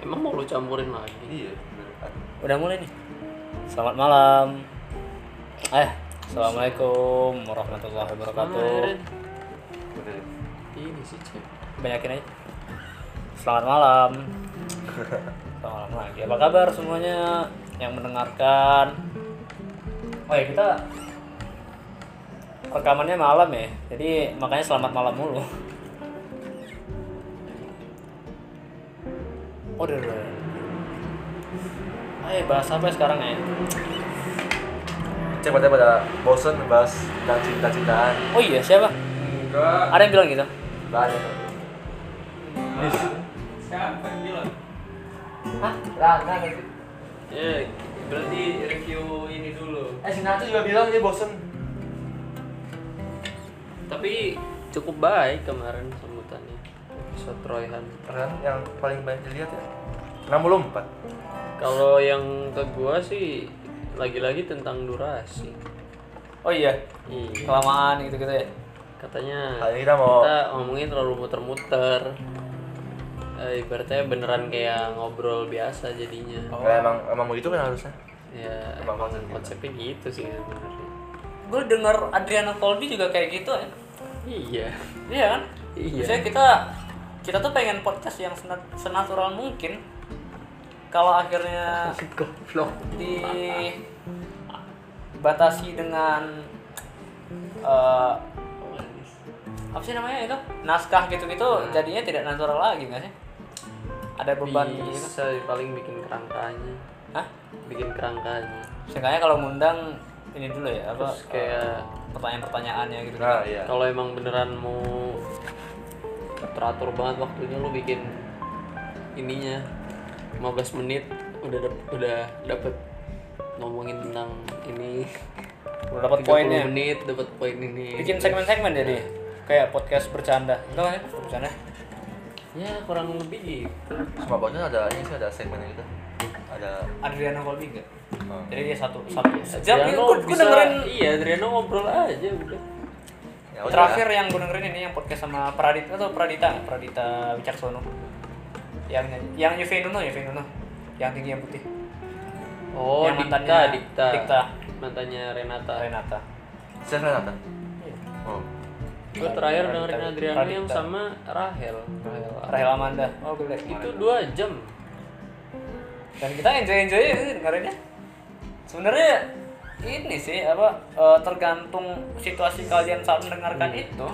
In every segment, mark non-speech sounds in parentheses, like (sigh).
Emang mau lu campurin lagi? Iya, bener. Udah mulai nih. Selamat malam. Eh, assalamualaikum warahmatullahi wabarakatuh. Kemarin Bener. ini sih cek. Banyakin aja. Selamat malam. Selamat malam lagi. Apa kabar semuanya yang mendengarkan? Oh ya kita rekamannya malam ya. Jadi makanya selamat malam mulu. Oh, udah, udah. Ayo bahas apa ya sekarang ya? Cek pada pada bosen bahas tentang cinta-cintaan. Oh iya siapa? Enggak. Ada yang bilang gitu? Banyak. Siapa yang bilang? Hah? Rana Ya, berarti review ini dulu. Eh, si Nacho juga bilang dia bosen. Tapi cukup baik kemarin sambutannya. Episode Royhan. Ran Kan, yang paling banyak dilihat ya. 64. Kalau yang ke gua sih lagi-lagi tentang durasi. Oh iya, Iya. kelamaan gitu-gitu ya. Katanya Kali ini kita mau kita ngomongin terlalu muter-muter. Eh, ibaratnya beneran kayak ngobrol biasa jadinya. Oh. Nah, emang emang begitu kan harusnya. Ya, Emang emang konsep kita. konsepnya gitu sih sebenarnya. Gue denger Adriana Colby juga kayak gitu ya. (laughs) Iya. Iya kan? Iya. Maksudnya kita kita tuh pengen podcast yang senat, senatural mungkin. Kalau akhirnya Goblok. dibatasi dengan eh apa sih namanya itu naskah gitu-gitu jadinya tidak natural lagi nggak sih? Ada beban gitu. Bisa paling bikin kerangkanya. Hah? Bikin kerangkanya. Seenggaknya kalau ngundang ini dulu ya apa eh, Terus kayak pertanyaan-pertanyaannya gitu. Nah, iya. kalau emang beneran mau teratur banget waktunya lu bikin ininya 15 menit udah dap- udah dapet ngomongin tentang ini (laughs) Udah 30 dapat poinnya. menit dapat poin ini Bikin segmen-segmen jadi kayak podcast bercanda. Itu kan ya, bercanda. ya kurang lebih gitu Semua bosnya ada ini sih ada segmen gitu. Ada Adriano Colby enggak? Hmm. Jadi dia satu satu. Sejam nih Adriano gue bisa- dengerin iya Adriano ngobrol aja udah ya udah. terakhir yang gue dengerin ini yang podcast sama Pradita atau Pradita, Pradita Wicaksono. Yang nyanyi- yang Yovie Nuno, Yovie Nuno. Yang tinggi yang putih. oh Yang Dikta, mantannya- Dikta Dikta. mantannya Renata Renata. Saya Renata. Oh. gue terakhir dengerin Radita. Adriano yang Radita. sama Rahel Rahel Rahel Amanda. Oh, gue liat. itu dua jam dan kita enjoy enjoy ya sih dengerinnya sebenarnya ini sih apa eh, tergantung situasi kalian saat mendengarkan itu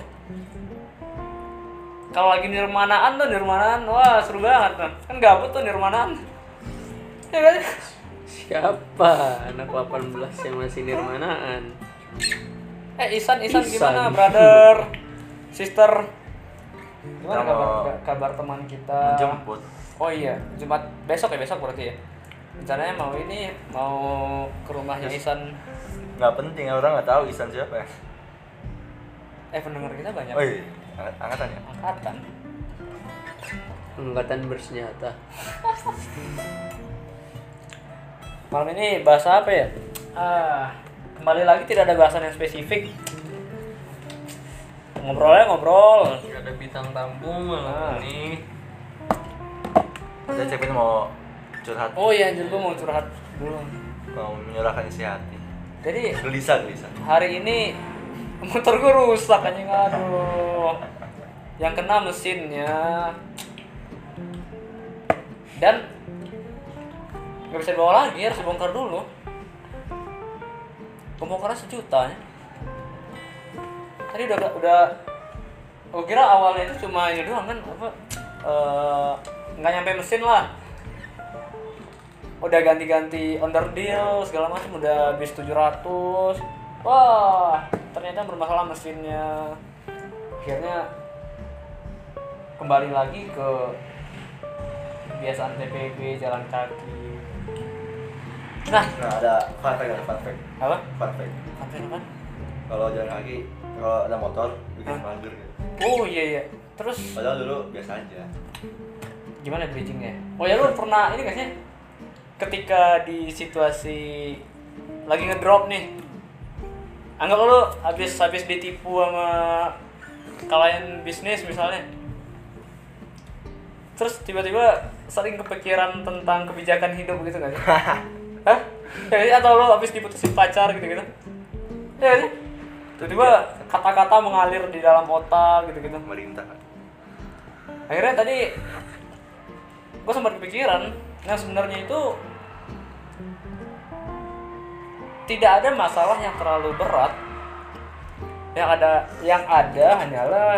kalau lagi nirmanaan tuh nirmanaan wah seru banget kan kan gabut tuh nirmanaan ya kan Siapa anak 18 yang masih nirmanaan? eh Isan Isan, Isan. gimana brother sister gimana Sama- kabar kabar teman kita Menjemput. oh iya Jumat besok ya besok berarti ya rencananya mau ini mau ke rumahnya Isan Nggak penting orang nggak tahu Isan siapa. eh pendengar kita banyak kan? Oh iya. Angkat- Angkatan ya. angkatan Angkatan bersenjata. malam ini bahasa apa ya ah kembali lagi tidak ada bahasan yang spesifik ngobrolnya ngobrol Ah. Gak ada bintang tamu malam ini. Saya Cepin mau curhat, oh iya anjir gua mau curhat dulu mau menyurahkan isi hati. jadi Gelisah, gelisah. hari ini (laughs) motor gue rusak anjing aduh yang kena mesinnya dan nggak bisa dibawa lagi harus dibongkar dulu pembongkaran sejuta ya. tadi udah udah gue kira awalnya itu cuma ini doang kan apa eh, nggak nyampe mesin lah udah ganti-ganti underdeal segala macam udah habis 700 wah ternyata bermasalah mesinnya akhirnya kembali lagi ke kebiasaan TPB jalan kaki nah Nah, ada fun fact, ada fun fact. apa Fun fact. Apa apa? Kalau jalan kaki, kalau ada motor, bikin mager gitu. oh iya iya terus Padahal dulu biasa aja. gimana bridgingnya oh ya lu pernah ini gak sih ketika di situasi lagi ngedrop nih anggap lu habis habis ditipu sama kalian bisnis misalnya terus tiba-tiba sering kepikiran tentang kebijakan hidup gitu nggak sih? Hah? Ya, nggak sih? atau lo habis diputusin pacar gitu-gitu? Ya nggak sih? Tiba-tiba kata-kata mengalir di dalam otak gitu-gitu. pemerintah Akhirnya tadi gue sempat kepikiran, nah sebenarnya itu tidak ada masalah yang terlalu berat. Yang ada yang ada hanyalah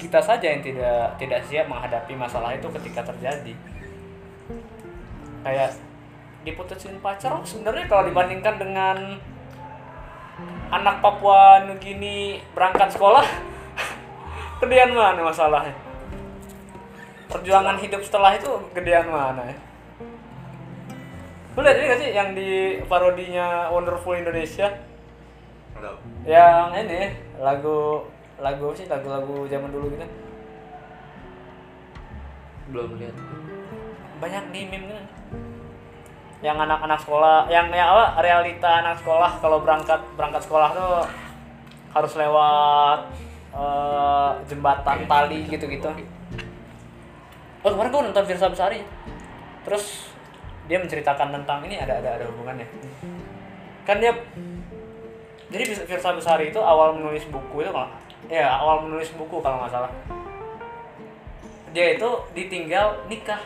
kita saja yang tidak tidak siap menghadapi masalah itu ketika terjadi kayak diputusin pacar sebenarnya kalau dibandingkan dengan anak Papua Nugini berangkat sekolah (laughs) gedean mana masalahnya perjuangan hidup setelah itu gedean mana ya lu lihat ini gak sih yang di parodinya Wonderful Indonesia Enggak. yang ini lagu lagu apa sih lagu-lagu zaman dulu gitu belum lihat banyak di meme kan yang anak-anak sekolah yang yang apa realita anak sekolah kalau berangkat berangkat sekolah tuh harus lewat eh, jembatan tali gitu-gitu oh kemarin gue nonton Virsa Besari terus dia menceritakan tentang ini ada ada ada hubungannya kan dia jadi Virsa Besari itu awal menulis buku itu kalau ya awal menulis buku kalau nggak salah dia itu ditinggal nikah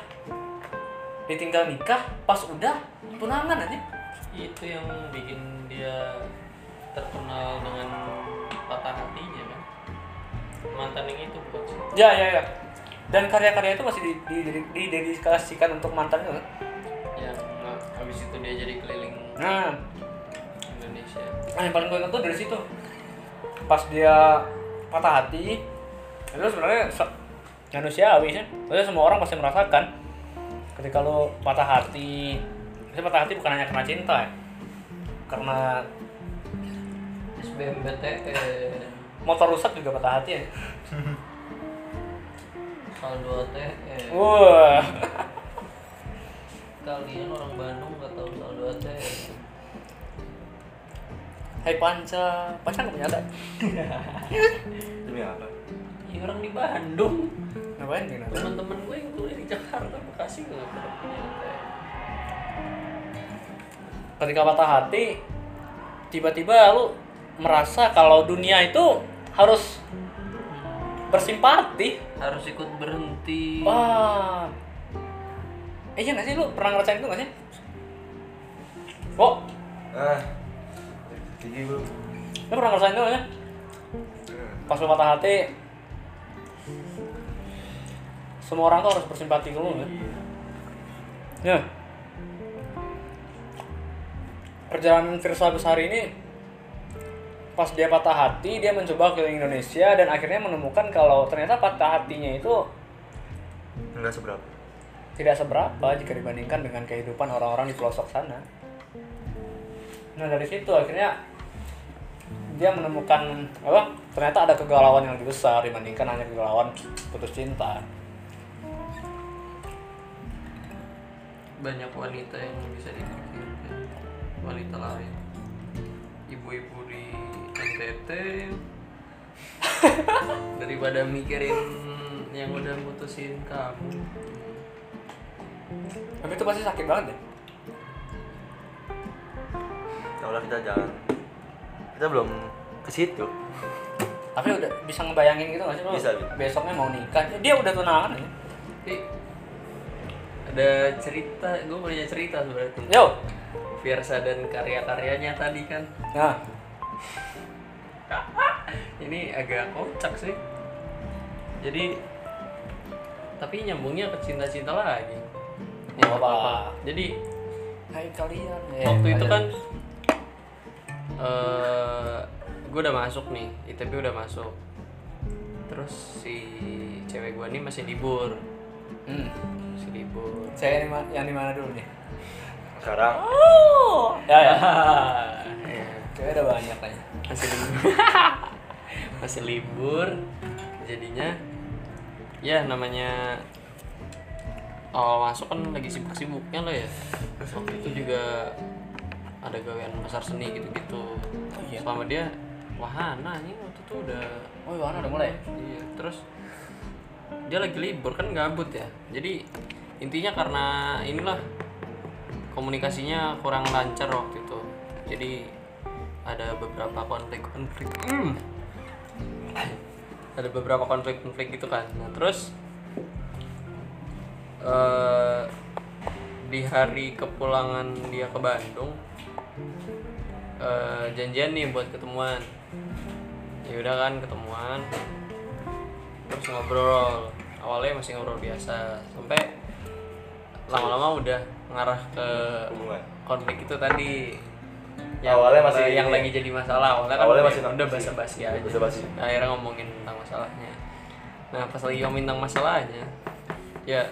ditinggal nikah pas udah tunangan aja itu yang bikin dia terkenal dengan patah hatinya kan mantan yang itu bukan sih ya ya ya dan karya-karya itu masih di- di- di- didedikasikan untuk mantannya kan? ya nah, habis itu dia jadi keliling nah Indonesia Nah, yang paling gue ingat tuh dari situ pas dia patah hati itu sebenarnya se- manusiawi sih Maksudnya semua orang pasti merasakan ketika lo patah hati itu patah hati bukan hanya karena cinta ya karena SBMPTN motor rusak juga patah hati ya saldo E. ATM wah kalian orang Bandung nggak tahu saldo E. ATM Hai Panca, Panca nggak punya ada? demi apa ya orang di Bandung Ngapain gitu? teman-teman gue yang kuliah di Jakarta Bekasi nggak pernah punya ATM Ketika patah hati, tiba-tiba lu merasa kalau dunia itu harus bersimpati. harus ikut berhenti Wah. Eh iya nggak sih lu pernah ngerasain itu nggak sih? Kok? ah gigi lu Lu pernah ngerasain itu nggak sih? Pas lu patah hati, semua orang tuh harus bersimpati ke lu nggak? Ya. Perjalanan Firsa Besari ini pas dia patah hati, dia mencoba keliling Indonesia dan akhirnya menemukan kalau ternyata patah hatinya itu enggak seberapa tidak seberapa jika dibandingkan dengan kehidupan orang-orang di pelosok sana. Nah dari situ akhirnya dia menemukan apa? Ternyata ada kegalauan yang lebih besar dibandingkan hanya kegalauan putus cinta. banyak wanita yang bisa dipikirkan wanita lain ibu-ibu di (laughs) NTT daripada mikirin yang udah mutusin kamu Tapi itu pasti sakit banget ya. kalau Ya kita jangan kita belum ke situ Tapi udah bisa ngebayangin gitu nggak sih lo? Bisa, bisa. Besoknya mau nikah, dia udah tunangan ya. aja. tapi ada cerita gue punya cerita sebenarnya tentang Yo, Fiersa dan karya-karyanya tadi kan nah ini agak kocak sih jadi tapi nyambungnya ke cinta-cinta lagi Nggak apa-apa. jadi hai kalian. Ya, waktu itu ayo. kan eh gue udah masuk nih ITB udah masuk terus si cewek gue nih masih libur Hmm. masih libur Saya yang di ma- yang di mana dulu nih? sekarang Oh, (laughs) ya ya. Kayaknya udah banyak kayaknya. masih libur masih libur jadinya ya namanya awal masuk kan lagi sibuk-sibuknya lo ya waktu itu juga ada gawean pasar seni gitu-gitu Oh iya. selama dia wahana ini waktu itu udah Oh, Yohana udah mulai. iya terus dia lagi libur kan gabut ya jadi intinya karena inilah komunikasinya kurang lancar waktu itu jadi ada beberapa konflik konflik hmm. ada beberapa konflik konflik gitu kan nah, terus eh, di hari kepulangan dia ke Bandung eh, janjian nih buat ketemuan ya udah kan ketemuan terus ngobrol awalnya masih ngobrol biasa sampai lama-lama udah ngarah ke Hubungan. konflik itu tadi Awalnya masih yang ini. lagi jadi masalah awalnya kan Awalnya udah- masih udah basa-basi. basa-basi aja Basa-basi. Nah, akhirnya ngomongin tentang masalahnya nah pas lagi ngomongin tentang masalahnya ya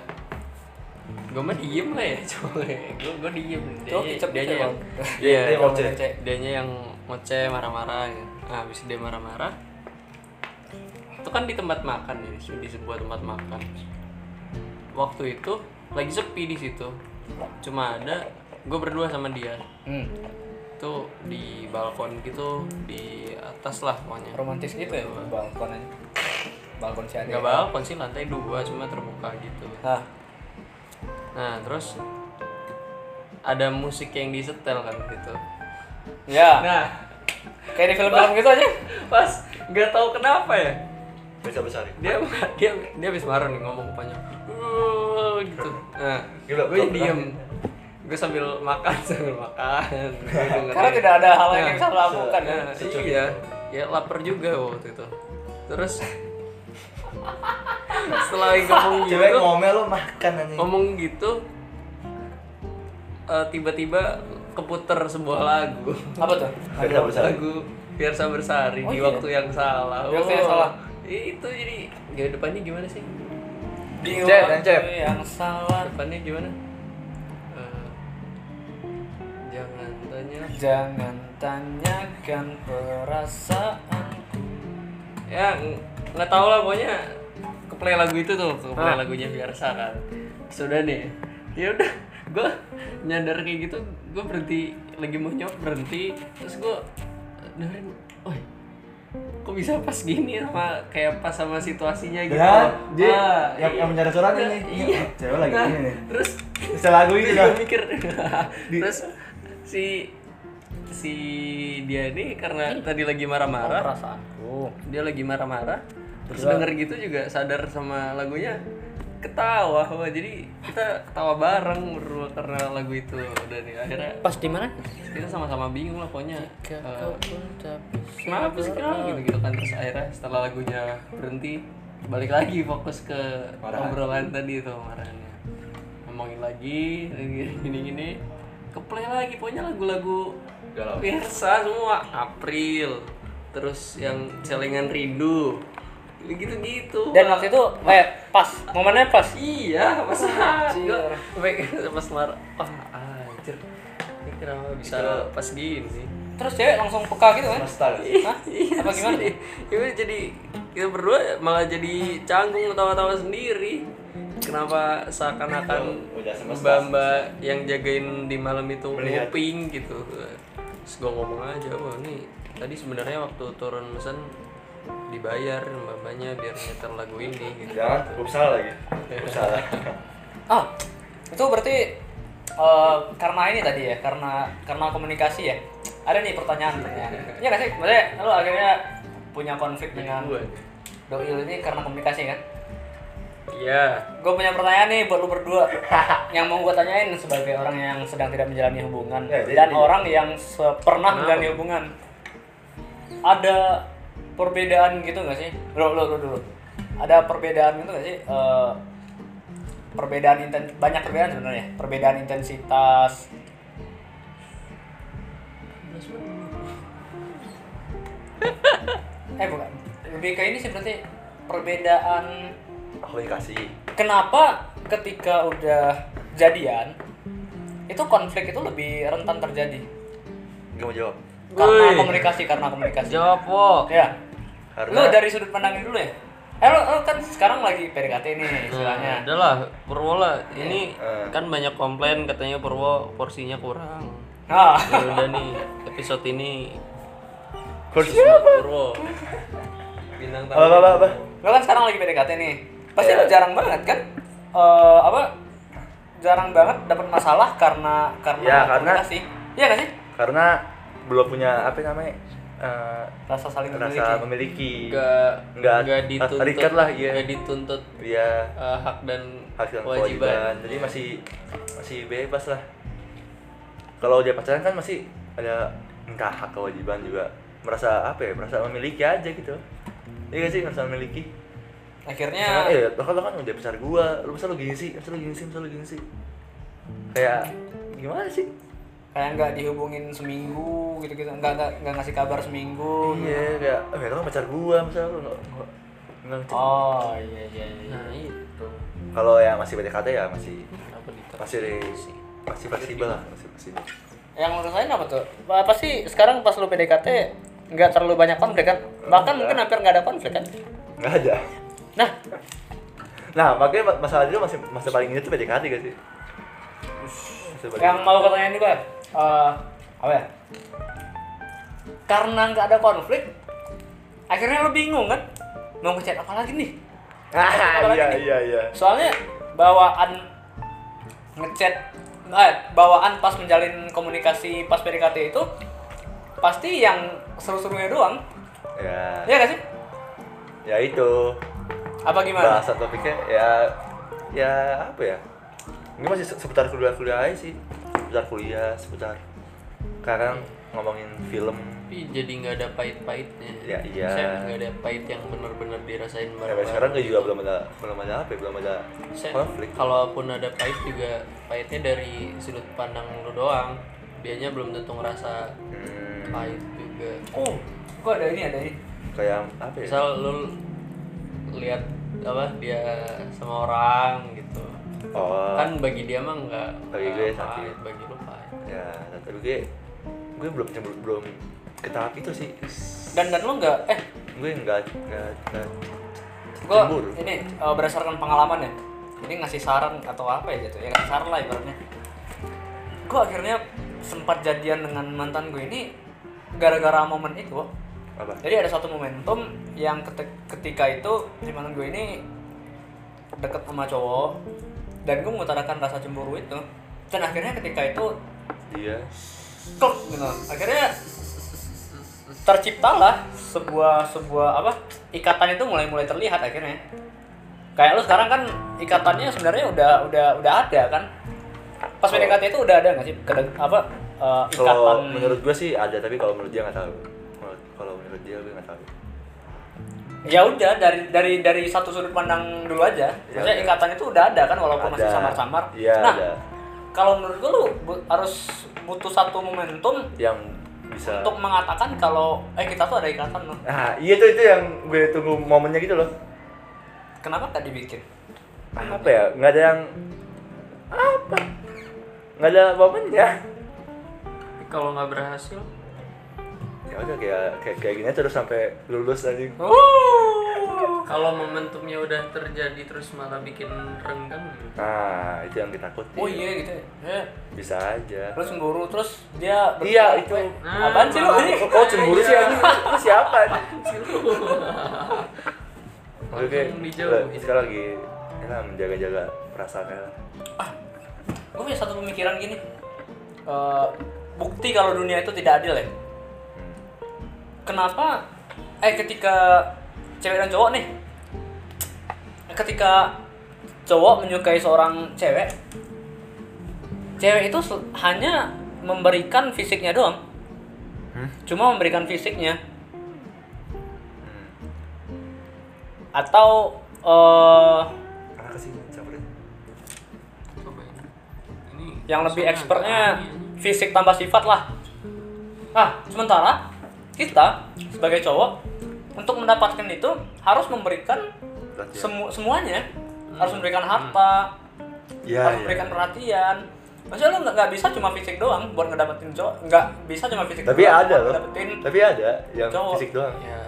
gue mah diem lah ya (laughs) coba gue gue diem dia Cowok kicep dia gitu ya, yang Bang? iya Dia ngoceh. dianya yang ngoceh marah-marah gitu. nah habis dia marah-marah itu kan di tempat makan ya di sebuah tempat makan waktu itu lagi sepi di situ cuma ada gue berdua sama dia Hmm, itu di balkon gitu di atas lah pokoknya romantis gitu ya balkon aja. Balkon si Ade. nggak balkon sih lantai dua cuma terbuka gitu Hah, nah terus ada musik yang disetel kan gitu ya. nah (laughs) Kayak di film-film gitu aja. pas nggak tahu kenapa ya Bisa besarin. dia dia dia habis marah nih ngomong panjang "Uh," gitu nah Gila, gue belum diem gue sambil makan (laughs) sambil makan Gua dengerin. Karena tidak ada hal lain yang Nah, bisa lakukan. Nah, iya ya lapar juga waktu itu terus (laughs) setelah ngomong Cewek gitu ngomel lo makan anjing. ngomong gitu eh, tiba-tiba keputer sebuah lagu Apa tuh? Bisa besarin. lagu Biarsa Bersari Oh, di iya. waktu yang salah Oh. Di waktu yang salah. itu jadi ya depannya gimana sih Di Cep, waktu Cep. yang salah. depannya gimana Iya, Eh, jangan tanya Jangan tanyakan perasaanku. ya ng- nggak tahu lah pokoknya Ah. keplay lagu itu tuh keplay lagunya biasa kan sudah nih ya udah gue nyadar kayak gitu gue berhenti lagi mau nyok berhenti terus gue dengerin wah kok bisa pas gini sama kayak pas sama situasinya gitu Ya, dia Ah, yang- iya. yang mencari suratnya Nah, nih. iya Cewek lagi ini nih. terus Bisa lagu ini gue dah. (laughs) mikir terus si si dia ini karena tadi lagi marah-marah Perasaanku. dia lagi marah-marah terus denger gitu juga sadar sama lagunya ketawa wah jadi kita ketawa bareng berdua karena lagu itu dan ya, akhirnya Pas di mana? kita sama-sama bingung lah pokoknya eh, kenapa sih kenapa gitu gitu kan terus akhirnya setelah lagunya berhenti balik lagi fokus ke Marahan. obrolan tadi itu marahnya ngomongin lagi gini gini keplay lagi pokoknya lagu-lagu Galau. biasa semua April terus yang celengan rindu gitu gitu Dan waktu itu eh pas, momennya pas. iya pas Anjir. pas marah wah anjir ini kenapa bisa pas gini sih Terus cewek langsung peka gitu kan? Semesta gak sih? Hah? Iya Apa gimana? sih. Ya udah, jadi kita berdua malah jadi canggung ketawa-tawa sendiri. Kenapa seakan-akan Udah semesta, mbak-mbak yang jagain di malam itu Melihat. nguping gitu. Terus gue ngomong aja, wah nih tadi sebenarnya waktu turun mesen dibayar mbak-mbaknya biar nyetel lagu ini gitu. Jangan, gue salah lagi. Gue salah. Ah, itu berarti eh, karena ini tadi ya, karena karena komunikasi ya. Ada nih pertanyaan pertanyaan. Iya nggak sih? Maksudnya lo akhirnya punya konflik dengan Gue. Doil ini karena komunikasi kan? Iya. Gue punya pertanyaan nih buat lo berdua (laughs) Yang mau gue tanyain sebagai orang yang sedang tidak menjalani hubungan Ya, jadi- Dan orang yang se- pernah menjalani hubungan Ada perbedaan gitu gak sih? Lo, lo, lo dulu Ada perbedaan gitu gak sih? Eh, perbedaan inten banyak perbedaan sebenarnya perbedaan intensitas eh bukan lebih ke ini sih berarti perbedaan Komunikasi. kenapa ketika udah jadian itu konflik itu lebih rentan terjadi Gue mau jawab. karena Woi. komunikasi karena komunikasi Jawab, Wo. ya lu Karena dari sudut pandangnya dulu ya eh lu, lu kan sekarang lagi PDKT nih Nah, istilahnya udahlah, Purwo lah. Ini Eh. kan banyak komplain katanya Purwo porsinya kurang. nah ya udah nih episode ini kursi. Purwo bintang Iya, Apa apa apa? lu kan sekarang lagi PDKT nih pasti Iya. lo jarang banget kan Eh, apa jarang banget dapat masalah karena karena Iya, karena- komunikasi iya nggak sih karena belum punya apa namanya eh, rasa saling rasa memiliki memiliki nggak Nggak- nggak ah, dituntut terikat lah, iya. nggak dituntut dia eh, hak dan Iya, hasil kewajiban. kewajiban jadi masih masih bebas lah kalau dia pacaran kan masih ada entah hak kewajiban juga merasa apa ya merasa memiliki aja gitu iya gak sih merasa memiliki akhirnya Misalkan, eh lo kan lo kan udah besar gua lu masa lu gini sih masa lu gini sih masa lu gini sih kayak gimana sih kayak nggak dihubungin seminggu gitu gitu nggak nggak nggak ngasih kabar seminggu iya kayak eh lo kan pacar gua masa lu nggak nggak- nggak ngecek oh iya iya iya nah itu kalau ya masih PDKT ya masih apa dituntut masih masih fleksibel lah masih fleksibel yang menurut saya apa tuh Wah, pasti sekarang pas lu PDKT nggak terlalu banyak konflik kan bahkan mungkin hampir nggak ada konflik kan nggak ada nah Nah, makanya ma- masalah itu masih masa paling ini tuh PDKT gak sih? Masa paling- yang mau gue tanyain juga eh apa ya karena nggak ada konflik akhirnya lu bingung kan mau ngechat apa lagi nih Ah, iya iya iya. soalnya bawaan ngechat eh, bawaan pas menjalin komunikasi pas PDKT itu pasti yang seru-serunya doang Ya, ya gak sih ya itu. apa gimana Bahasa topiknya ya ya apa ya? Ini masih se- seputar kuliah-kuliah aja sih. Seputar kuliah, seputar sekarang ngomongin film. tapi jadi nggak ada pahit-pahitnya Ya, iya. saya nggak ada pahit yang benar-benar dirasain Ya, bareng-bareng. sekarang gue juga belum ada belum ada apa? ya, Belum ada Saya- konflik. kalaupun ada pahit juga pahitnya dari sudut pandang lu doang dianya belum tentu ngerasa Hmm, pahit juga oh gue ada ini ada ini kayak apa ya? misal lu lihat apa dia sama orang gitu Oh. kan bagi dia mah nggak Bagi nggak gue sakit. bagi lu pahit Ya, tapi gue gue belum belum- belum ke tahap itu sih. dan dan lu nggak eh gue nggak nggak nggak gue cemburu ini eh, berdasarkan pengalaman ya ini ngasih saran atau apa ya gitu ya ngasih saran lah ibaratnya gue akhirnya sempat jadian dengan mantan gue ini gara-gara momen itu apa jadi ada satu momentum yang ketik- ketika itu si mantan gue ini deket sama cowok dan gue mengutarakan rasa cemburu itu dan akhirnya ketika itu Iya. dia klik gitu akhirnya terciptalah sebuah sebuah apa ikatan itu mulai mulai terlihat akhirnya kayak lu sekarang kan ikatannya sebenarnya udah udah udah ada kan pas PDKT itu udah ada nggak sih Kede- apa eh, ikatan Oh. kalau menurut gue sih ada tapi kalau menurut dia nggak tahu Menurut- kalau menurut dia gue nggak tahu ya udah dari dari dari satu sudut pandang dulu aja Ya maksudnya udah. ikatan itu udah ada kan walaupun masih Ada. samar-samar Iya, nah ada. kalau menurut gue lu bu- harus butuh satu momentum yang bisa untuk mengatakan kalau eh kita tuh ada ikatan loh nah iya tuh itu yang gue tunggu momennya gitu loh kenapa gak dibikin apa ya nggak ada yang apa nggak ada momennya Tapi kalau nggak berhasil ya udah kayak kayak kayak gini terus sampai lulus aja Wuh. kalau momentumnya udah terjadi terus malah bikin renggang gitu. nah itu yang kita takutin oh iya gitu ya bisa aja terus cemburu terus dia ber- Nah, iya itu apaan sih lu ini (laughs) kok kok Oh, cemburu sih anjing? Lu siapa anjing? Oke, Langsung dijauhin. sekarang lagi ya lah, menjaga-jaga perasaannya lah. gue punya satu pemikiran gini Eh, bukti kalau dunia itu tidak adil ya Hmm. kenapa eh ketika cewek dan cowok nih ketika cowok menyukai seorang cewek cewek itu sel- hanya memberikan fisiknya doang Hmm? cuma memberikan fisiknya Hmm. atau eh, Anak kesini campurnya. Coba ini. Ini yang lebih rasanya expertnya agak aneh. fisik tambah sifat lah nah sementara kita sebagai cowok untuk mendapatkan itu harus memberikan Perhatian. semu- semuanya harus memberikan harta Iya, harus iya. memberikan perhatian maksudnya lo nggak- nggak bisa cuma fisik doang buat ngedapetin cowok nggak bisa cuma fisik Tapi doang ada buat loh. ngedapetin Tapi ada yang cowok. fisik doang. ya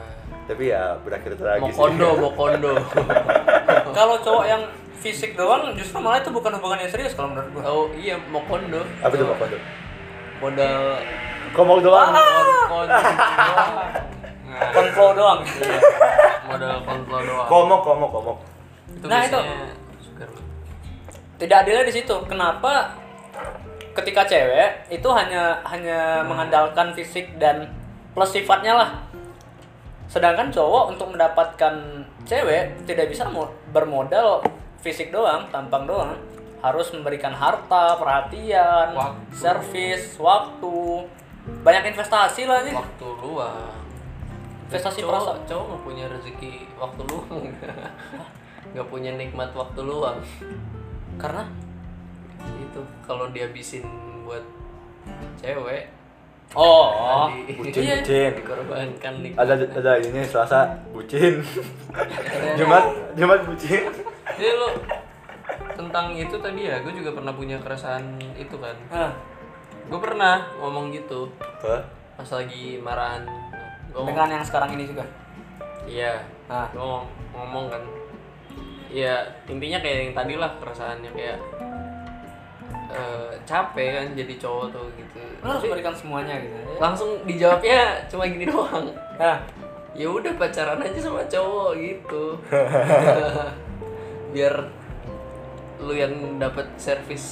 Tapi ya berakhir tragis. Mokondo, Mokondo. (laughs) kalau cowok yang fisik doang justru malah itu bukan hubungan yang serius kalau menurut gua Oh iya, Mokondo. (laughs) Apa tuh Mokondo? Ah! Modal Komok doang. kondo. Nah, konflo doang Iya. modal konflo doang. Komok, komok, komok. itu Nah, itu. biasanya suka tidak adilnya di situ kenapa ketika cewek itu hanya hanya mengandalkan fisik dan plus sifatnya lah sedangkan cowok untuk mendapatkan cewek tidak bisa mo- bermodal fisik doang tampang doang harus memberikan harta perhatian Waktu. servis waktu banyak investasi lah nih waktu luang Investasi cowok, perasaan. cowok nggak punya rezeki waktu luang (laughs) nggak punya nikmat waktu luang karena itu kalau dihabisin buat cewek oh (laughs) di- Bucin, Iya. bucin. dikorbankan nikmat Ada ada ini Selasa (laughs) bucin. Jumat Jumat bucin. jadi lo tentang itu tadi ya gue juga pernah punya keresahan itu kan Hah, gue pernah ngomong gitu Apa? pas lagi marahan Gua ngomong- dengan yang sekarang ini juga Iya. Ah. Gua ngom- ngomong kan. Iya, intinya kayak yang tadi lah perasaannya kayak eh, capek kan jadi cowok tuh gitu. lo harus Tapi memberikan semuanya gitu Nah, ya langsung dijawabnya cuma gini (laughs) doang. Hah, Ya udah pacaran aja sama cowok gitu. Biar lu yang dapat servis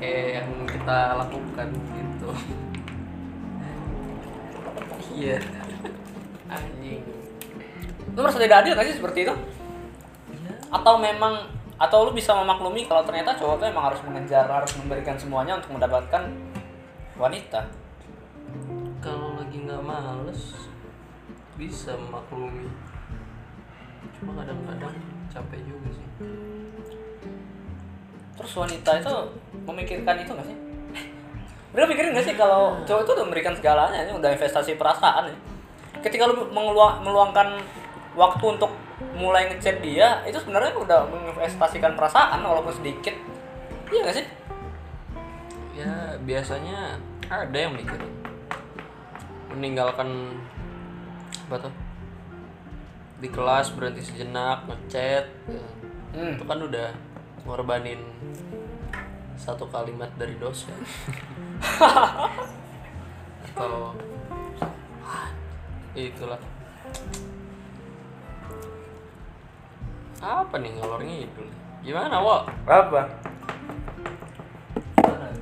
kayak yang kita lakukan gitu. Iya. Anjing. lu merasa tidak adil gak sih seperti itu Ya, atau memang atau lu bisa memaklumi kalau ternyata cowok tuh emang harus mengejar harus memberikan semuanya untuk mendapatkan wanita kalau lagi nggak males bisa maklumi cuma kadang-kadang capek juga sih terus wanita itu memikirkan itu gak sih (laughs) Mereka mikirin gak sih kalau cowok itu udah memberikan segalanya ini udah investasi perasaan ya ketika lu mengelua- meluangkan waktu untuk mulai ngechat dia itu sebenarnya udah menginvestasikan perasaan walaupun sedikit iya gak sih ya biasanya ada yang mikirin meninggalkan apa tuh di kelas berhenti sejenak ngechat ya. Hmm. itu kan udah ngorbanin satu kalimat dari (laughs) dosen atau ya itulah apa nih ngalor ngidul gimana wo Apa?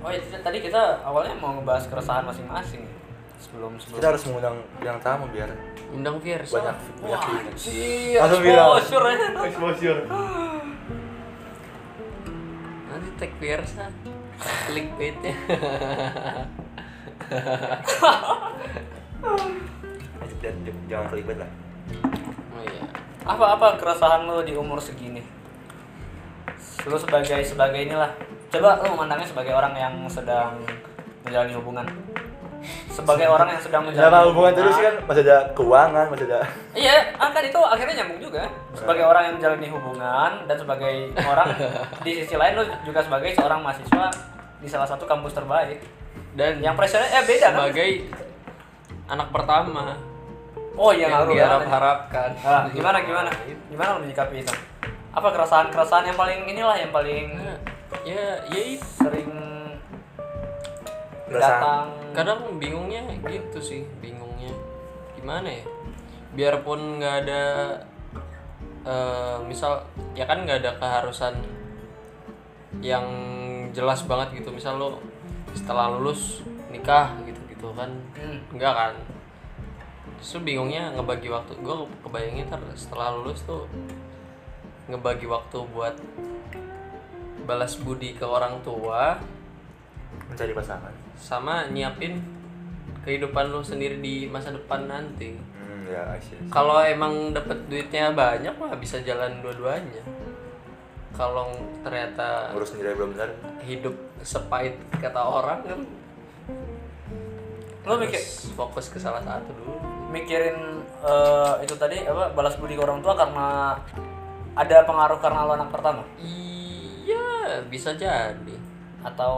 Oh iya, tadi kita awalnya mau ngebahas keresahan masing-masing sebelum sebelum. Kita harus mengundang yang tamu biar undang Fiersa banyak banyak feeling. Iya, eh. Langsung bilang. exposure aja. Exposure. nanti tag Fiersa klik nya Jangan terlibat lah. oh iya (laughs) Apa apa keresahan lo di umur segini? Lo sebagai sebagai inilah. Coba lo memandangnya sebagai orang yang sedang menjalani hubungan. Sebagai orang yang sedang menjalani Kenapa hubungan terus kan masih ada keuangan, masih ada Iya, ah, kan itu akhirnya nyambung juga. Sebagai orang yang menjalani hubungan dan sebagai orang di sisi lain lo juga sebagai seorang mahasiswa di salah satu kampus terbaik. dan Yang pressure eh beda kan? sebagai anak pertama Oh iya yang ngaruh ya. diharap-harapkan Ah, gimana gimana? Gimana lo menyikapi itu? Apa keresahan-keresahan yang paling inilah yang paling Nah, ya ya itu sering Keresahan. datang? kadang bingungnya gitu sih bingungnya gimana ya biarpun nggak ada eh, misal ya kan nggak ada keharusan yang jelas banget gitu misal lo setelah lulus nikah gitu gitu kan Hmm. enggak kan justru bingungnya ngebagi waktu gue kebayangnya ntar setelah lulus tuh ngebagi waktu buat balas budi ke orang tua mencari pasangan. sama nyiapin kehidupan lu sendiri di masa depan nanti. Hmm, ya, I see. Kalau emang dapet duitnya banyak mah bisa jalan dua-duanya. Kalau ternyata Ngurus sendiri aja belum benar. hidup sepahit kata orang kan Lo mikir harus fokus ke salah satu dulu. mikirin eh, itu tadi apa balas budi ke orang tua karena ada pengaruh karena lo anak pertama Iya, bisa jadi. atau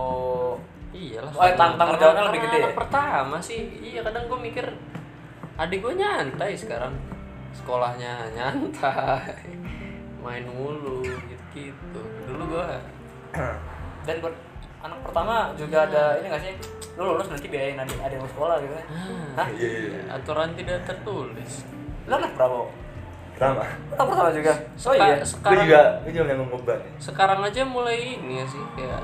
Iyalah. Oh, tang- tanggung jawabnya Karena- lebih karena gede ya? anak pertama sih. Iya, kadang gue mikir adik gue nyantai sekarang. Sekolahnya nyantai. (laughs) Main mulu gitu-gitu. Dulu gue dan buat anak pertama juga ada ini nggak sih lo lulus nanti biayain adik adik lo sekolah gitu kan? ya. Hah? Iya, iya, iya. aturan tidak tertulis. Lo anak berapa? Sama. Oh, pertama juga. Seka- Oh iya. Gue sekarang juga, gue juga nanggung beban. ya. sekarang aja mulai ini ya sih kayak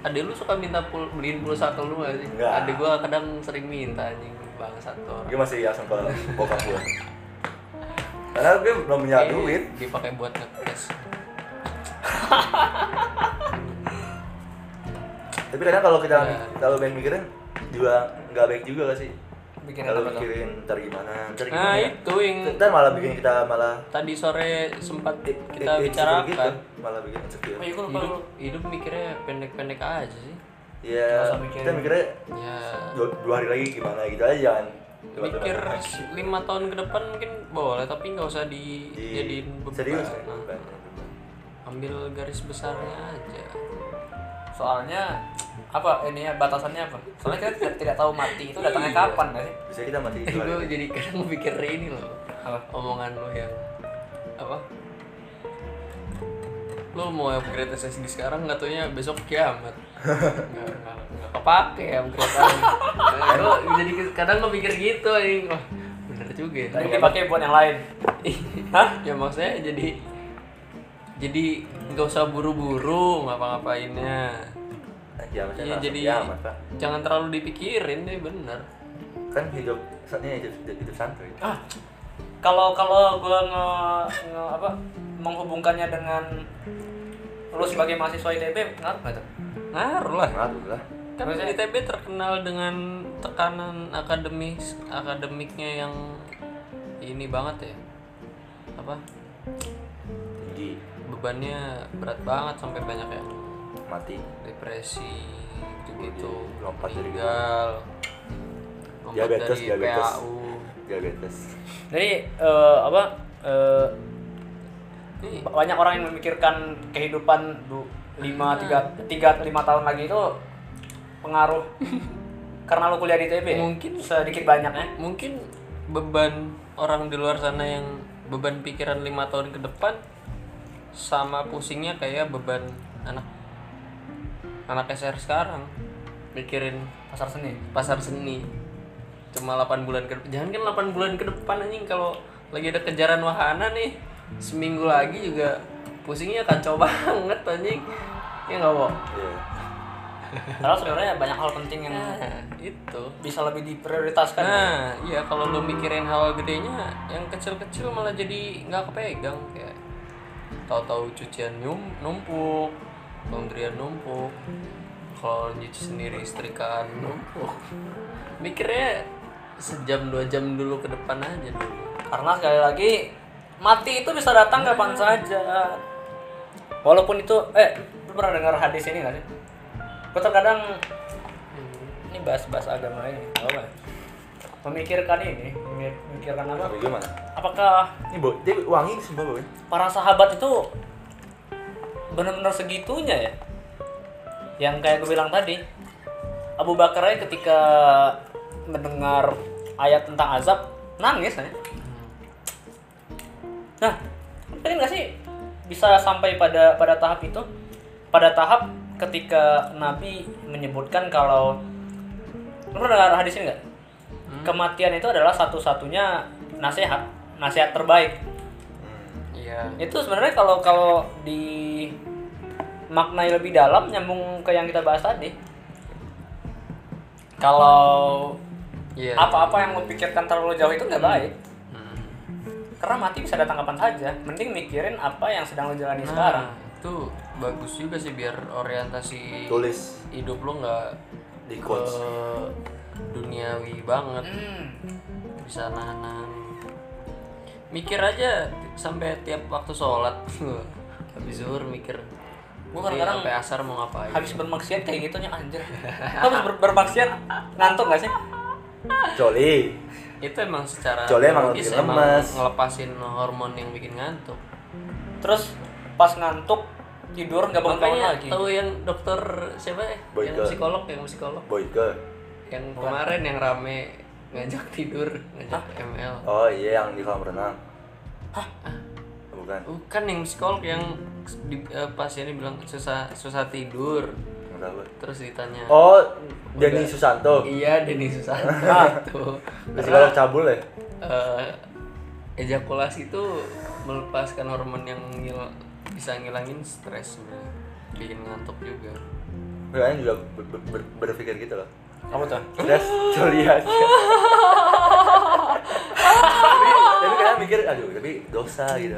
adek lu suka minta pul beliin pulsa ke lu gak sih? Enggak. Adek gua kadang sering minta anjing bangsat tuh orang. Gue masih langsung ke bokap gue. Karena gue belum punya Kayak duit. Dipakai buat ngekes. Tapi kadang kalau kita Iya. kalau banyak mikirin juga nggak baik juga gak sih? Bikin Kalau apa tuh? mikirin ntar gimana, ntar gimana. ya? Nah, itu yang Ntar malah bikin kita malah tadi sore sempat i- i- kita insecure bicarakan. Iya, gitu. malah bikin insecure. Oh iya, gue lupa. Hidup, gua- hidup mikirnya pendek-pendek aja sih. Ya, Nggak usah mikirin. kita mikirnya Ya, dua, dua hari lagi gimana gitu aja jangan mikir lima tahun ke depan mungkin boleh tapi nggak usah dijadiin beban. serius ya, Nah, beban. ambil garis besarnya aja. Soalnya apa ini ya batasannya apa? Soalnya kita tidak, tidak tahu mati itu datangnya Iya. kapan nggak sih? Bisa kita mati Eh, dua hari. gue jadi kadang mikir ini loh Gitu Apa? omongan lu yang apa lu mau upgrade SSD sekarang nggak taunya besok kiamat nggak nggak nggak kepake upgrade gue jadi kadang gue mikir gitu anjing wah bener juga ya Tapi dipakai buat yang lain. (laughs) Hah? ya maksudnya jadi jadi nggak usah buru-buru ngapa-ngapainnya Nah, kiamat Iya, langsung jadi kiamat, Pak. jangan terlalu dipikirin deh bener kan hidup saatnya hidup hidup santuy Ah, kalau kalau gue nge, nge apa menghubungkannya dengan lu sebagai mahasiswa ITB ngaruh nggak tuh? ngaruh lah ngaruh lah Kan Maksudnya- ITB terkenal dengan tekanan akademis akademiknya yang ini banget ya. Apa? tinggi Bebannya berat banget sampai banyak yang mati depresi gitu-gitu, Lompat dari meninggal. Lompat Diabetes, dari diabetes. PAU. diabetes Jadi eh, apa eh, Ih, banyak orang yang memikirkan kehidupan du, Nah. lima tiga tiga lima tahun lagi itu (laughs) pengaruh karena lu kuliah di ITB. ya? Mungkin. sedikit banyaknya. mungkin beban orang di luar sana yang beban pikiran lima tahun ke depan sama pusingnya kayak beban anak anak SR sekarang mikirin Pasar seni. pasar seni cuma 8 bulan ke jangan kan 8 bulan ke depan anjing kalau lagi ada kejaran wahana nih seminggu lagi juga pusingnya kacau (laughs) banget anjing ya nggak mau Iya. Padahal sebenarnya banyak hal penting yang nah itu bisa lebih diprioritaskan. nah iya kalau lu mikirin hal gedenya yang kecil-kecil malah jadi nggak kepegang kayak tahu-tahu cucian nyum- numpuk laundryan numpuk kalau nyuci sendiri istrikan numpuk mikirnya sejam dua jam dulu ke depan aja dulu Karena sekali lagi mati itu bisa datang kapan saja. Walaupun itu eh lu pernah dengar hadis ini nggak sih? Gue terkadang ini bahas-bahas agama ini, nggak apa? ya. Memikirkan ini, memikirkan apa? tapi gimana Apakah ini bau dia wangi sumpah bau Iya. para sahabat itu benar-benar segitunya ya? Yang kayak gue bilang tadi, Abu Bakar aja ketika mendengar ayat tentang azab nangis ya. Nah, pengen nggak sih bisa sampai pada pada tahap itu? Pada tahap ketika Nabi menyebutkan kalau lu pernah dengar hadis ini nggak? Hmm. Kematian itu adalah satu-satunya nasihat, nasihat terbaik iya itu sebenarnya kalau kalau di maknai lebih dalam nyambung ke yang kita bahas tadi kalau iya apa-apa yang lo pikirkan terlalu jauh itu nggak baik Hmm. karena mati bisa datang kapan saja mending mikirin apa yang sedang lo jalani Nah, sekarang itu bagus juga sih biar orientasi tulis hidup lo nggak di ke quotes duniawi banget hmm. bisa nahan mikir aja ti- sampai tiap waktu (laughs) sholat habis zuhur mikir Gua gue kadang-kadang sampai asar mau ngapain habis bermaksiat kayak gitunya anjir Lo habis ber- bermaksiat ngantuk nggak sih coli itu emang secara Jolnya emang biologis lebih lemes. ngelepasin hormon yang bikin ngantuk terus pas ngantuk tidur nggak bangun bangun makanya lagi tahu yang dokter siapa ya yang Boyke. psikolog yang psikolog boy ke yang kemarin yang rame ngajak tidur ngajak ML oh iya yang di kolam renang bukan bukan yang psikolog yang di, eh, pasiennya bilang susah susah tidur nggak tahu gue. terus ditanya oh Denny Susanto Iya, Denny Iya, Susanto. Tuh. psikolog cabul ya Eh, ejakulasi itu melepaskan hormon yang ngil- bisa ngilangin stres sebenarnya bikin ngantuk juga Kalian juga ber- ber- ber- berpikir gitu loh. ya. Kamu tuh? Terus coli aja. tapi, tapi kalian mikir, aduh, tapi dosa gitu.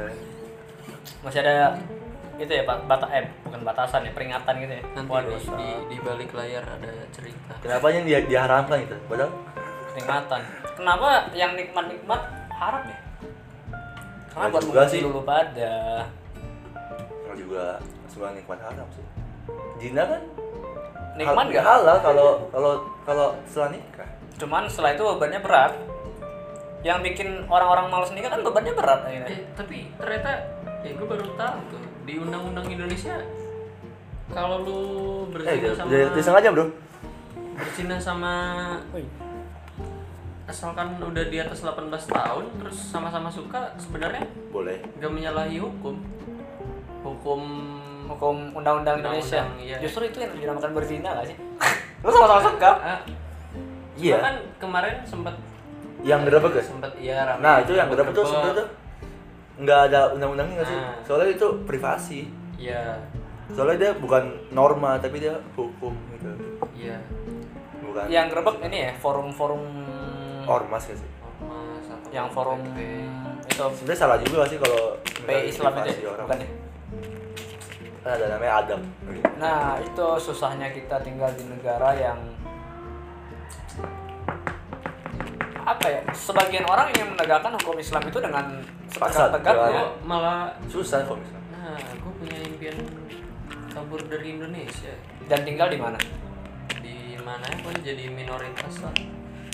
Masih ada itu ya bat bata eh bukan batasan ya peringatan gitu ya. nanti Waduh, di, di, di balik layar ada cerita Kenapa yang dia diharamkan gitu? Padahal peringatan. Kenapa yang nikmat-nikmat haram ya? Karena Nggak buat juga menguji sih. dulu pada kalau juga sebuah nikmat haram sih. Zina kan nikmat hal- nggak? halal kalau kalau kalau setelah nikah. Cuman setelah itu bebannya berat. Yang bikin orang-orang malas nikah kan bebannya berat akhirnya. Eh, tapi ternyata ya gue baru tahu tuh di undang-undang Indonesia kalau lu Eh, berzina udah, sama udah, udah sengaja bro. berzina sama asalkan udah di atas 18 tahun terus sama-sama suka sebenarnya Boleh. gak menyalahi hukum hukum Hukum undang-undang Indonesia. Undang-undang, iya. Justru itu yang dinamakan berzina gak sih? (laughs) Lu sama-sama suka? ah, bahkan kan Iya. kan kemarin sempat Yang berapa guys? sempat ya rame Nah itu yang berapa Gerebek. tuh sebenarnya tuh nggak ada undang-undangnya nggak sih? Nah. Soalnya itu privasi. ya Soalnya dia bukan norma tapi dia hukum gitu. ya Bukan. Yang grebek ini ya, forum-forum ormas ya sih. ormas atau yang forum PKP. itu Sebenarnya salah juga sih kalau P Islam itu privasi ya? orang. bukan ya? Kan ada namanya Adam. Nah, itu susahnya kita tinggal di negara yang apa ya? Sebagian orang yang menegakkan hukum Islam itu dengan Paksa, Gua setegak-tegaknya. malah Susah kalau misalnya. nah gue punya impian kabur dari Indonesia dan tinggal di mana? di mana pun jadi minoritas lah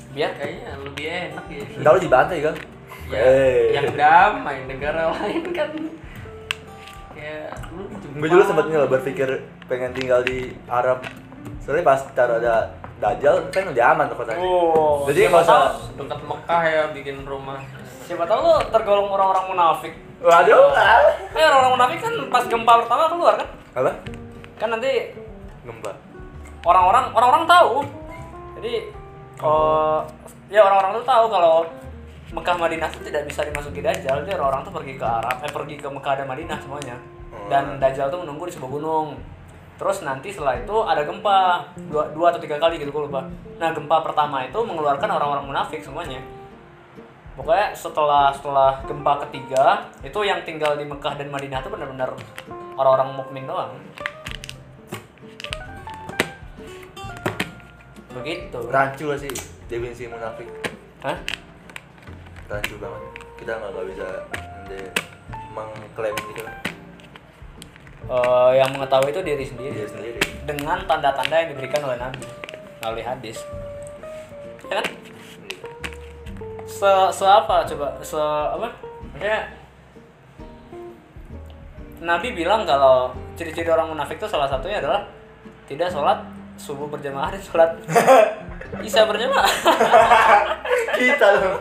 Biar kayaknya lebih enak ya Ntar lu dibantai kan? Iya. ya Hey. yang damai negara (laughs) lain kan kayak lu Gue dulu sempet nih loh berpikir pengen tinggal di Arab. Soalnya pas ntar ada Dajjal kan udah aman tuh kotanya. Oh, Jadi siapa nggak usah. tahu- dekat Mekah ya bikin rumah Siapa tahu lo tergolong orang-orang munafik. Waduh. ah. Eh, orang-orang munafik kan pas gempa pertama keluar kan? Apa? Kan nanti Gempa. orang-orang orang-orang tahu. Jadi oh ya orang-orang tuh tahu kalau Mekah Madinah tuh tidak bisa dimasuki Dajjal. Jadi orang-orang tuh pergi ke Arab, eh pergi ke Mekah dan Madinah semuanya. Dan Dajjal tuh menunggu di sebuah gunung. Terus nanti setelah itu ada gempa dua, dua atau tiga kali gitu gue lupa. Nah gempa pertama itu mengeluarkan orang-orang munafik semuanya. Pokoknya setelah setelah gempa ketiga itu yang tinggal di Mekah dan Madinah tuh benar-benar orang-orang mukmin doang. Begitu. Rancu lah sih definisi munafik. Hah? Rancu banget. Kita nggak nggak bisa mende- mengklaim gitu kan. Eh, yang mengetahui itu diri sendiri. Dia sendiri. (laughs) dengan tanda-tanda yang diberikan oleh Nabi melalui hadis ya kan se, se apa coba se apa ya Nabi bilang kalau ciri-ciri orang munafik itu salah satunya adalah tidak sholat subuh berjamaah dan (laughs) sholat isya berjamaah (laughs) Kita loh.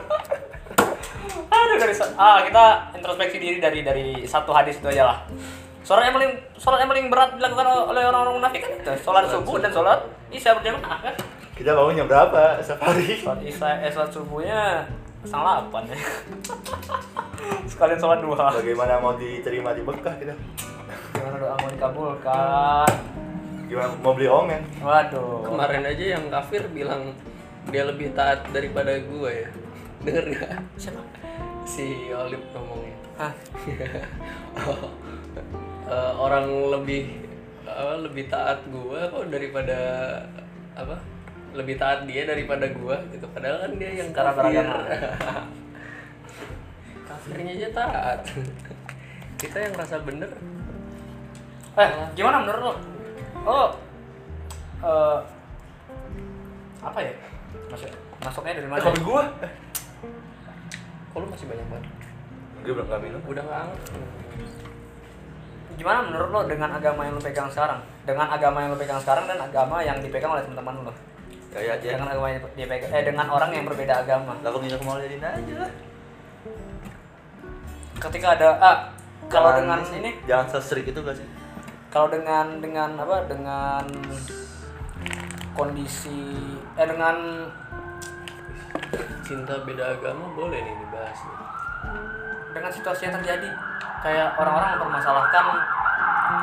Aduh, dari sa- ah kita introspeksi diri dari dari satu hadis itu aja lah sholat yang paling sholat yang paling berat dilakukan oleh orang-orang munafik kan itu sholat subuh dan sholat isya berjamaah kan Kita bangunnya berapa sehari? Sholat isya, eh, sholat subuhnya setengah delapan ya. (laughs) Sekalian sholat duha. Bagaimana mau diterima di Mekah kita? Gimana doa mau dikabulkan? Gimana mau beli ongen? Waduh. kemarin aja yang kafir bilang dia lebih taat daripada gua ya denger nggak Siapa? si Olip ngomongnya Hah? (laughs) Eh, orang lebih apa, lebih taat gua kok daripada apa lebih taat dia daripada gua gitu padahal kan dia yang Cara kafir beragama. (laughs) kafirnya aja taat (laughs) kita yang rasa bener Eh, gimana menurut lo? Lo eh apa ya? Masuk masuknya dari mana? Kopi gua. kok lu masih banyak banget Gue belum nggak minum. udah nggak anget Gimana menurut lo dengan agama yang lo pegang sekarang? Dengan agama yang lo pegang sekarang dan agama yang dipegang oleh teman-teman lo? Kayak aja. Dengan agama yang dia pegang, eh dengan orang yang berbeda agama. Lakukan minum mau jadiin aja lah. Ketika ada ah kalau Jangan dengan sih. ini jangan sestrik itu gak sih? kalau dengan dengan apa dengan kondisi eh dengan cinta beda agama boleh nih dibahas nih. dengan situasi yang terjadi kayak orang-orang mempermasalahkan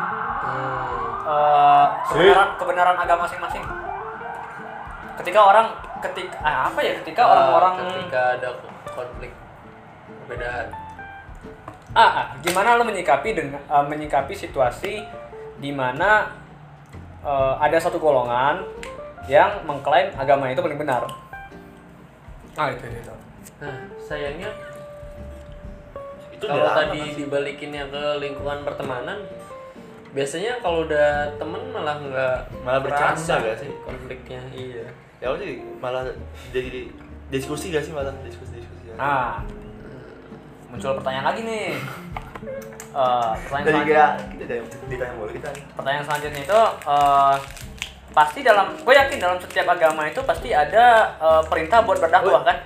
Hmm. eh, kebenaran kebenaran agama masing-masing ketika orang ketika ah, apa ya ketika Ah, orang-orang ketika ada konflik perbedaan ah, ah, gimana lo menyikapi dengan eh, menyikapi situasi di mana eh, ada satu golongan yang mengklaim agama itu paling benar ah itu itu, itu. nah sayangnya itu kalau udah tadi lama kan? dibalikinnya ke lingkungan pertemanan biasanya kalau udah temen malah nggak Malah bercanda berasa nggak sih? konfliknya iya ya udah sih, malah jadi diskusi gak sih malah diskusi diskusi Nah, muncul pertanyaan lagi nih. Eh, pertanyaan, jadi selanjutnya, kayak kita dari ditanya mulu kita nih pertanyaan selanjutnya itu eh, pasti dalam, gue yakin dalam setiap agama itu pasti ada eh, perintah buat berdakwah kan?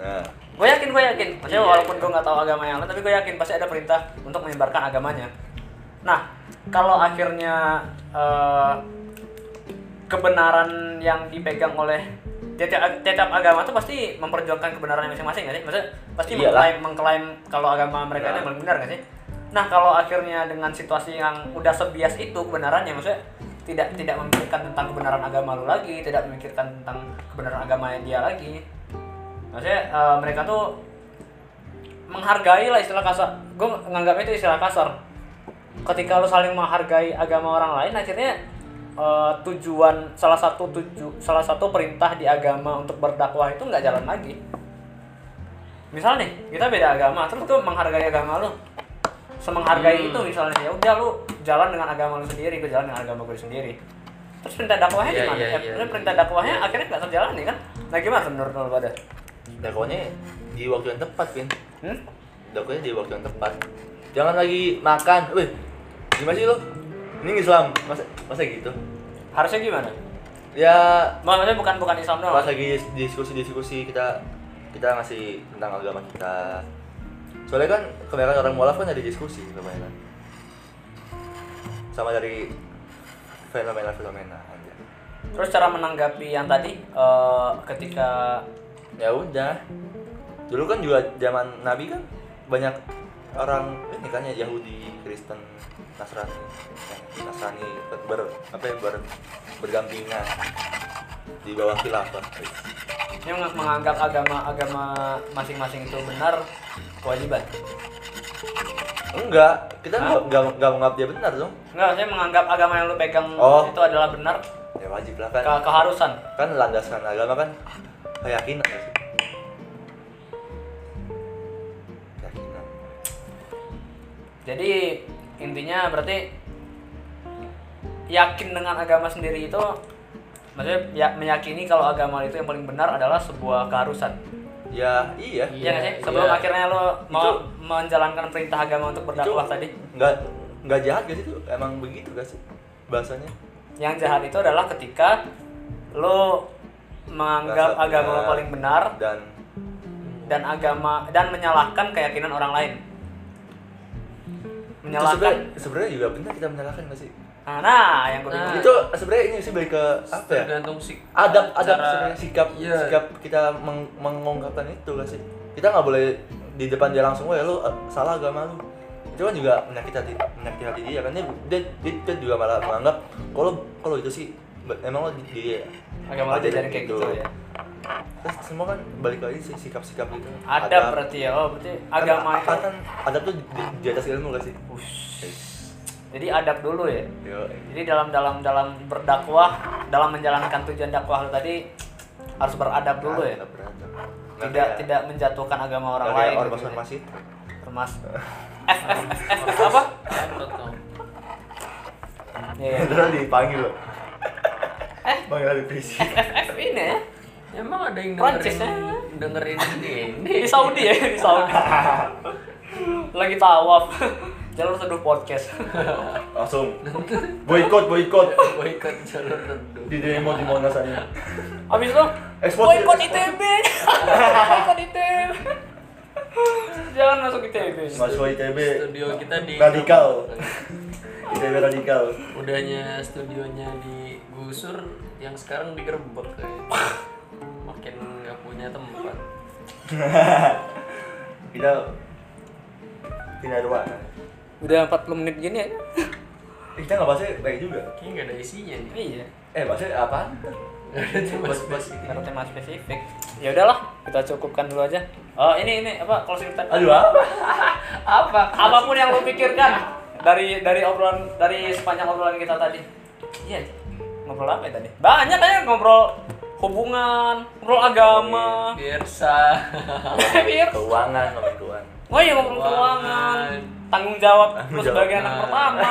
nah Gue yakin, gue yakin. Maksudnya Iya, walaupun iya. gue nggak tahu agama yang lain, tapi gue yakin pasti ada perintah untuk menyebarkan agamanya. Nah, kalau akhirnya eh, kebenaran yang dipegang oleh tiap, tiap agama itu pasti memperjuangkan kebenaran masing-masing nggak sih? Maksudnya pasti Iyalah. mengklaim mengklaim kalau agama mereka Nah. itu paling benar nggak sih? Nah, kalau akhirnya dengan situasi yang udah sebias itu kebenarannya maksudnya tidak tidak memikirkan tentang kebenaran agama lu lagi, tidak memikirkan tentang kebenaran agama yang dia lagi. Maksudnya eh, mereka tuh menghargai lah istilah kasar. Gue nganggapnya itu istilah kasar ketika lu saling menghargai agama orang lain akhirnya eh, tujuan salah satu tuju salah satu perintah di agama untuk berdakwah itu nggak jalan lagi misal nih kita beda agama terus tuh menghargai agama lu semenghargai Hmm. itu misalnya ya udah lu jalan dengan agama lu sendiri gue jalan dengan agama gue sendiri terus perintah dakwahnya Iya, gimana iya, ya, iya, maksudnya iya. perintah dakwahnya akhirnya nggak terjalani kan nah gimana menurut lu pada dakwanya di waktu yang tepat pin hmm? dakwanya di waktu yang tepat jangan lagi makan weh gimana sih lo ini Islam masa masa gitu harusnya gimana ya maksudnya bukan bukan Islam doang pas lagi diskusi-diskusi kita kita ngasih tentang agama kita soalnya kan kebanyakan orang mualaf kan ada diskusi kebanyakan sama dari fenomena-fenomena aja terus cara menanggapi yang tadi eh, ketika ya udah dulu kan juga zaman nabi kan banyak orang ini kan ya Yahudi Kristen Nasrani Eh, Nasrani ber apa ya, ber bergampingan di bawah khilafah yang menganggap agama-agama masing-masing itu benar kewajiban enggak kita nggak nggak nggak menganggap dia benar dong enggak saya menganggap agama yang lu pegang Oh. itu adalah benar ya wajib lah kan ke- keharusan kan landasan agama kan keyakinan gak sih? keyakinan jadi intinya berarti yakin dengan agama sendiri itu maksudnya ya, meyakini kalau agama itu yang paling benar adalah sebuah keharusan ya Iya iya nggak sih? Iya, Sebelum iya. akhirnya lo mau Itu- menjalankan perintah agama untuk berdakwah Itu- tadi, nggak nggak jahat gak sih tuh emang begitu gak sih bahasanya yang jahat itu adalah ketika lo menganggap Bahasa agama lo benar. paling benar dan dan agama dan menyalahkan keyakinan orang lain itu menyalahkan sebenarnya- sebenarnya juga benar kita menyalahkan gak sih nah, nah, yang gue Nah. bingung itu sebenarnya ini sih balik ke apa ya tergantung sih adab adab cara- sebenarnya sikap iya. sikap kita meng- mengungkapkan itu gak sih kita nggak boleh di depan dia langsung ya lu eh, salah agama lu itu kan juga menyakiti hati menyakiti hati dia kan dia, dia, dia- dia juga malah menganggap kalau kalau itu sih be- emang lo di- dia agama lo diajarin kayak gitu ya terus semua kan balik lagi sih sikap-sikap gitu adab berarti ya oh berarti agama kan, itu kan adab tuh di, di atas ilmu gak sih jadi adab dulu ya Yo, jadi dalam dalam dalam berdakwah dalam menjalankan tujuan dakwah lo tadi harus beradab dulu ya adab, beradab. Nggak tidak kayak- tidak menjatuhkan agama orang nggak kayak lain ormas gitu ya. ormas itu ormas F F F Eh, F F apa Menurut lo. Iya, (laughs) iya. Terus dipanggil lo. Panggil di polisi. F F ini ya emang ada yang Prancis, dengerin dengerin (laughs) ini di Saudi ya di Saudi lagi tawaf jalur teduh podcast Langsung. Boykot, boykot. boykot jalur redup Di demo di Monas aja. abis itu Expose, boykot expose. ITB boykot ITB jangan masuk ITB Mahasiswa ITB. studio kita di Radikal. ITB radikal. udahnya studionya digusur yang sekarang digerebek kayaknya. makin nggak punya tempat Kita Tidak ada warna. Udah 40 menit gini ya. Eh, kita nggak bahasnya baik juga. Kayaknya nggak ada isinya nih. iya. Eh bahasnya apaan? Bos bos. Nggak ada tema spesifik. Ya udahlah, kita cukupkan dulu aja. Oh, ini ini apa closing statement? Aduh apa? apa apapun yang lu pikirkan dari dari obrolan dari sepanjang obrolan kita tadi iya ngobrol apa ya tadi banyak ya ngobrol hubungan ngobrol agama Biasa. Bir. Keuangan, ngomongin keuangan. oh iya ngobrol keuangan tanggung jawab lu Tanggung sebagai jawab. anak pertama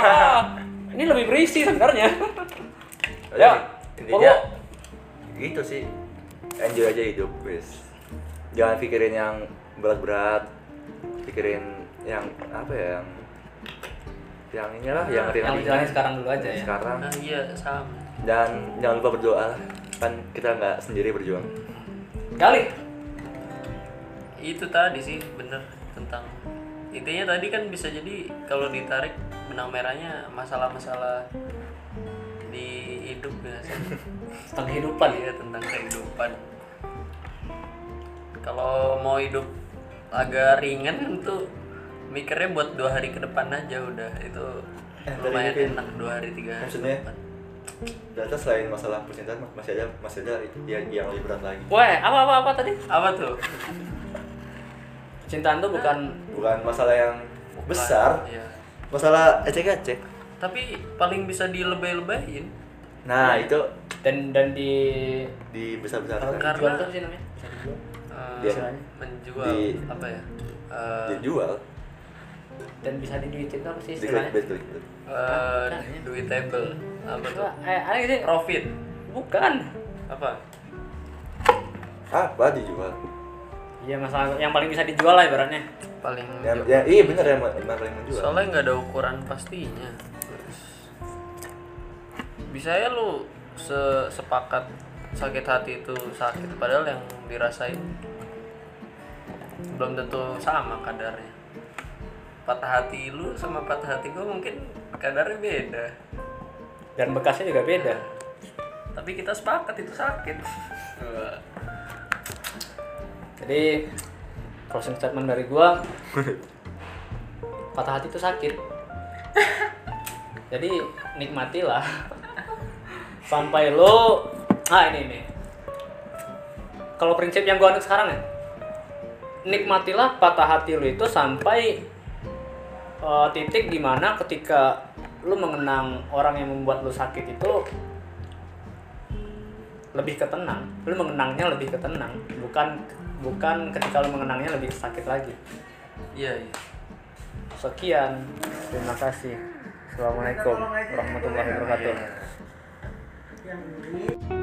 ini lebih berisi sebenarnya Ya, Ya, intinya gitu sih. Enjoy aja hidup, wis. Jangan pikirin yang berat-berat. Pikirin yang apa ya? Yang yang inilah, yang Nah, yang ringan-ringan. jalanin sekarang dulu aja ya Sekarang. Nah, iya sama. Dan jangan lupa berdoa lah. Kan kita nggak sendiri berjuang. kali itu tadi sih bener tentang intinya tadi kan bisa jadi kalau ditarik benang merahnya masalah-masalah di hidup (laughs) ya sih. tentang kehidupan ya Iya, tentang kehidupan kalau mau hidup agak ringan tuh mikirnya buat dua hari ke depan aja udah itu Eh, tadi lumayan mungkin- enak dua hari tiga hari ke Maksudnya? depan. Ternyata selain masalah percintaan masih ada masih ada yang, yang lebih berat lagi. Wah, apa apa apa tadi? apa tuh Cintaan tuh bukan Bukan masalah yang besar, Iya. masalah ecek-ecek. tapi paling bisa dilebay-lebayin Iya. Nah, itu dan dan di dibesar-besarkan. Karena- jual tuh apa sih namanya? Eh, Dia- menjual di- apa ya Eh, Dijual. dan bisa diduitin tuh apa sih Di istilahnya? clickbait, clickbait. eh, Bukan, ya. duitable apa Itu tuh eh ada nggak sih profit bukan. apa apa dijual Iya masalah yang paling bisa dijual lah ibaratnya. paling yang, yang iya bener yang, yang paling menjual soalnya nggak ada ukuran pastinya Terus, bisa ya lu se- sepakat sakit hati itu sakit padahal yang dirasain belum tentu sama kadarnya patah hati lu sama patah hati gua mungkin kadarnya beda Dan bekasnya juga beda. tapi kita sepakat itu (laughs) sakit Jadi closing statement dari gua patah hati itu sakit. Jadi nikmatilah sampai lo ah ini nih. Kalau prinsip yang gua anut sekarang ya nikmatilah patah hati lo itu sampai eh, titik dimana ketika lu mengenang orang yang membuat lu sakit itu lebih ketenang lu mengenangnya lebih ketenang bukan bukan ketika lu mengenangnya lebih sakit lagi iya iya sekian terima kasih assalamualaikum warahmatullahi wabarakatuh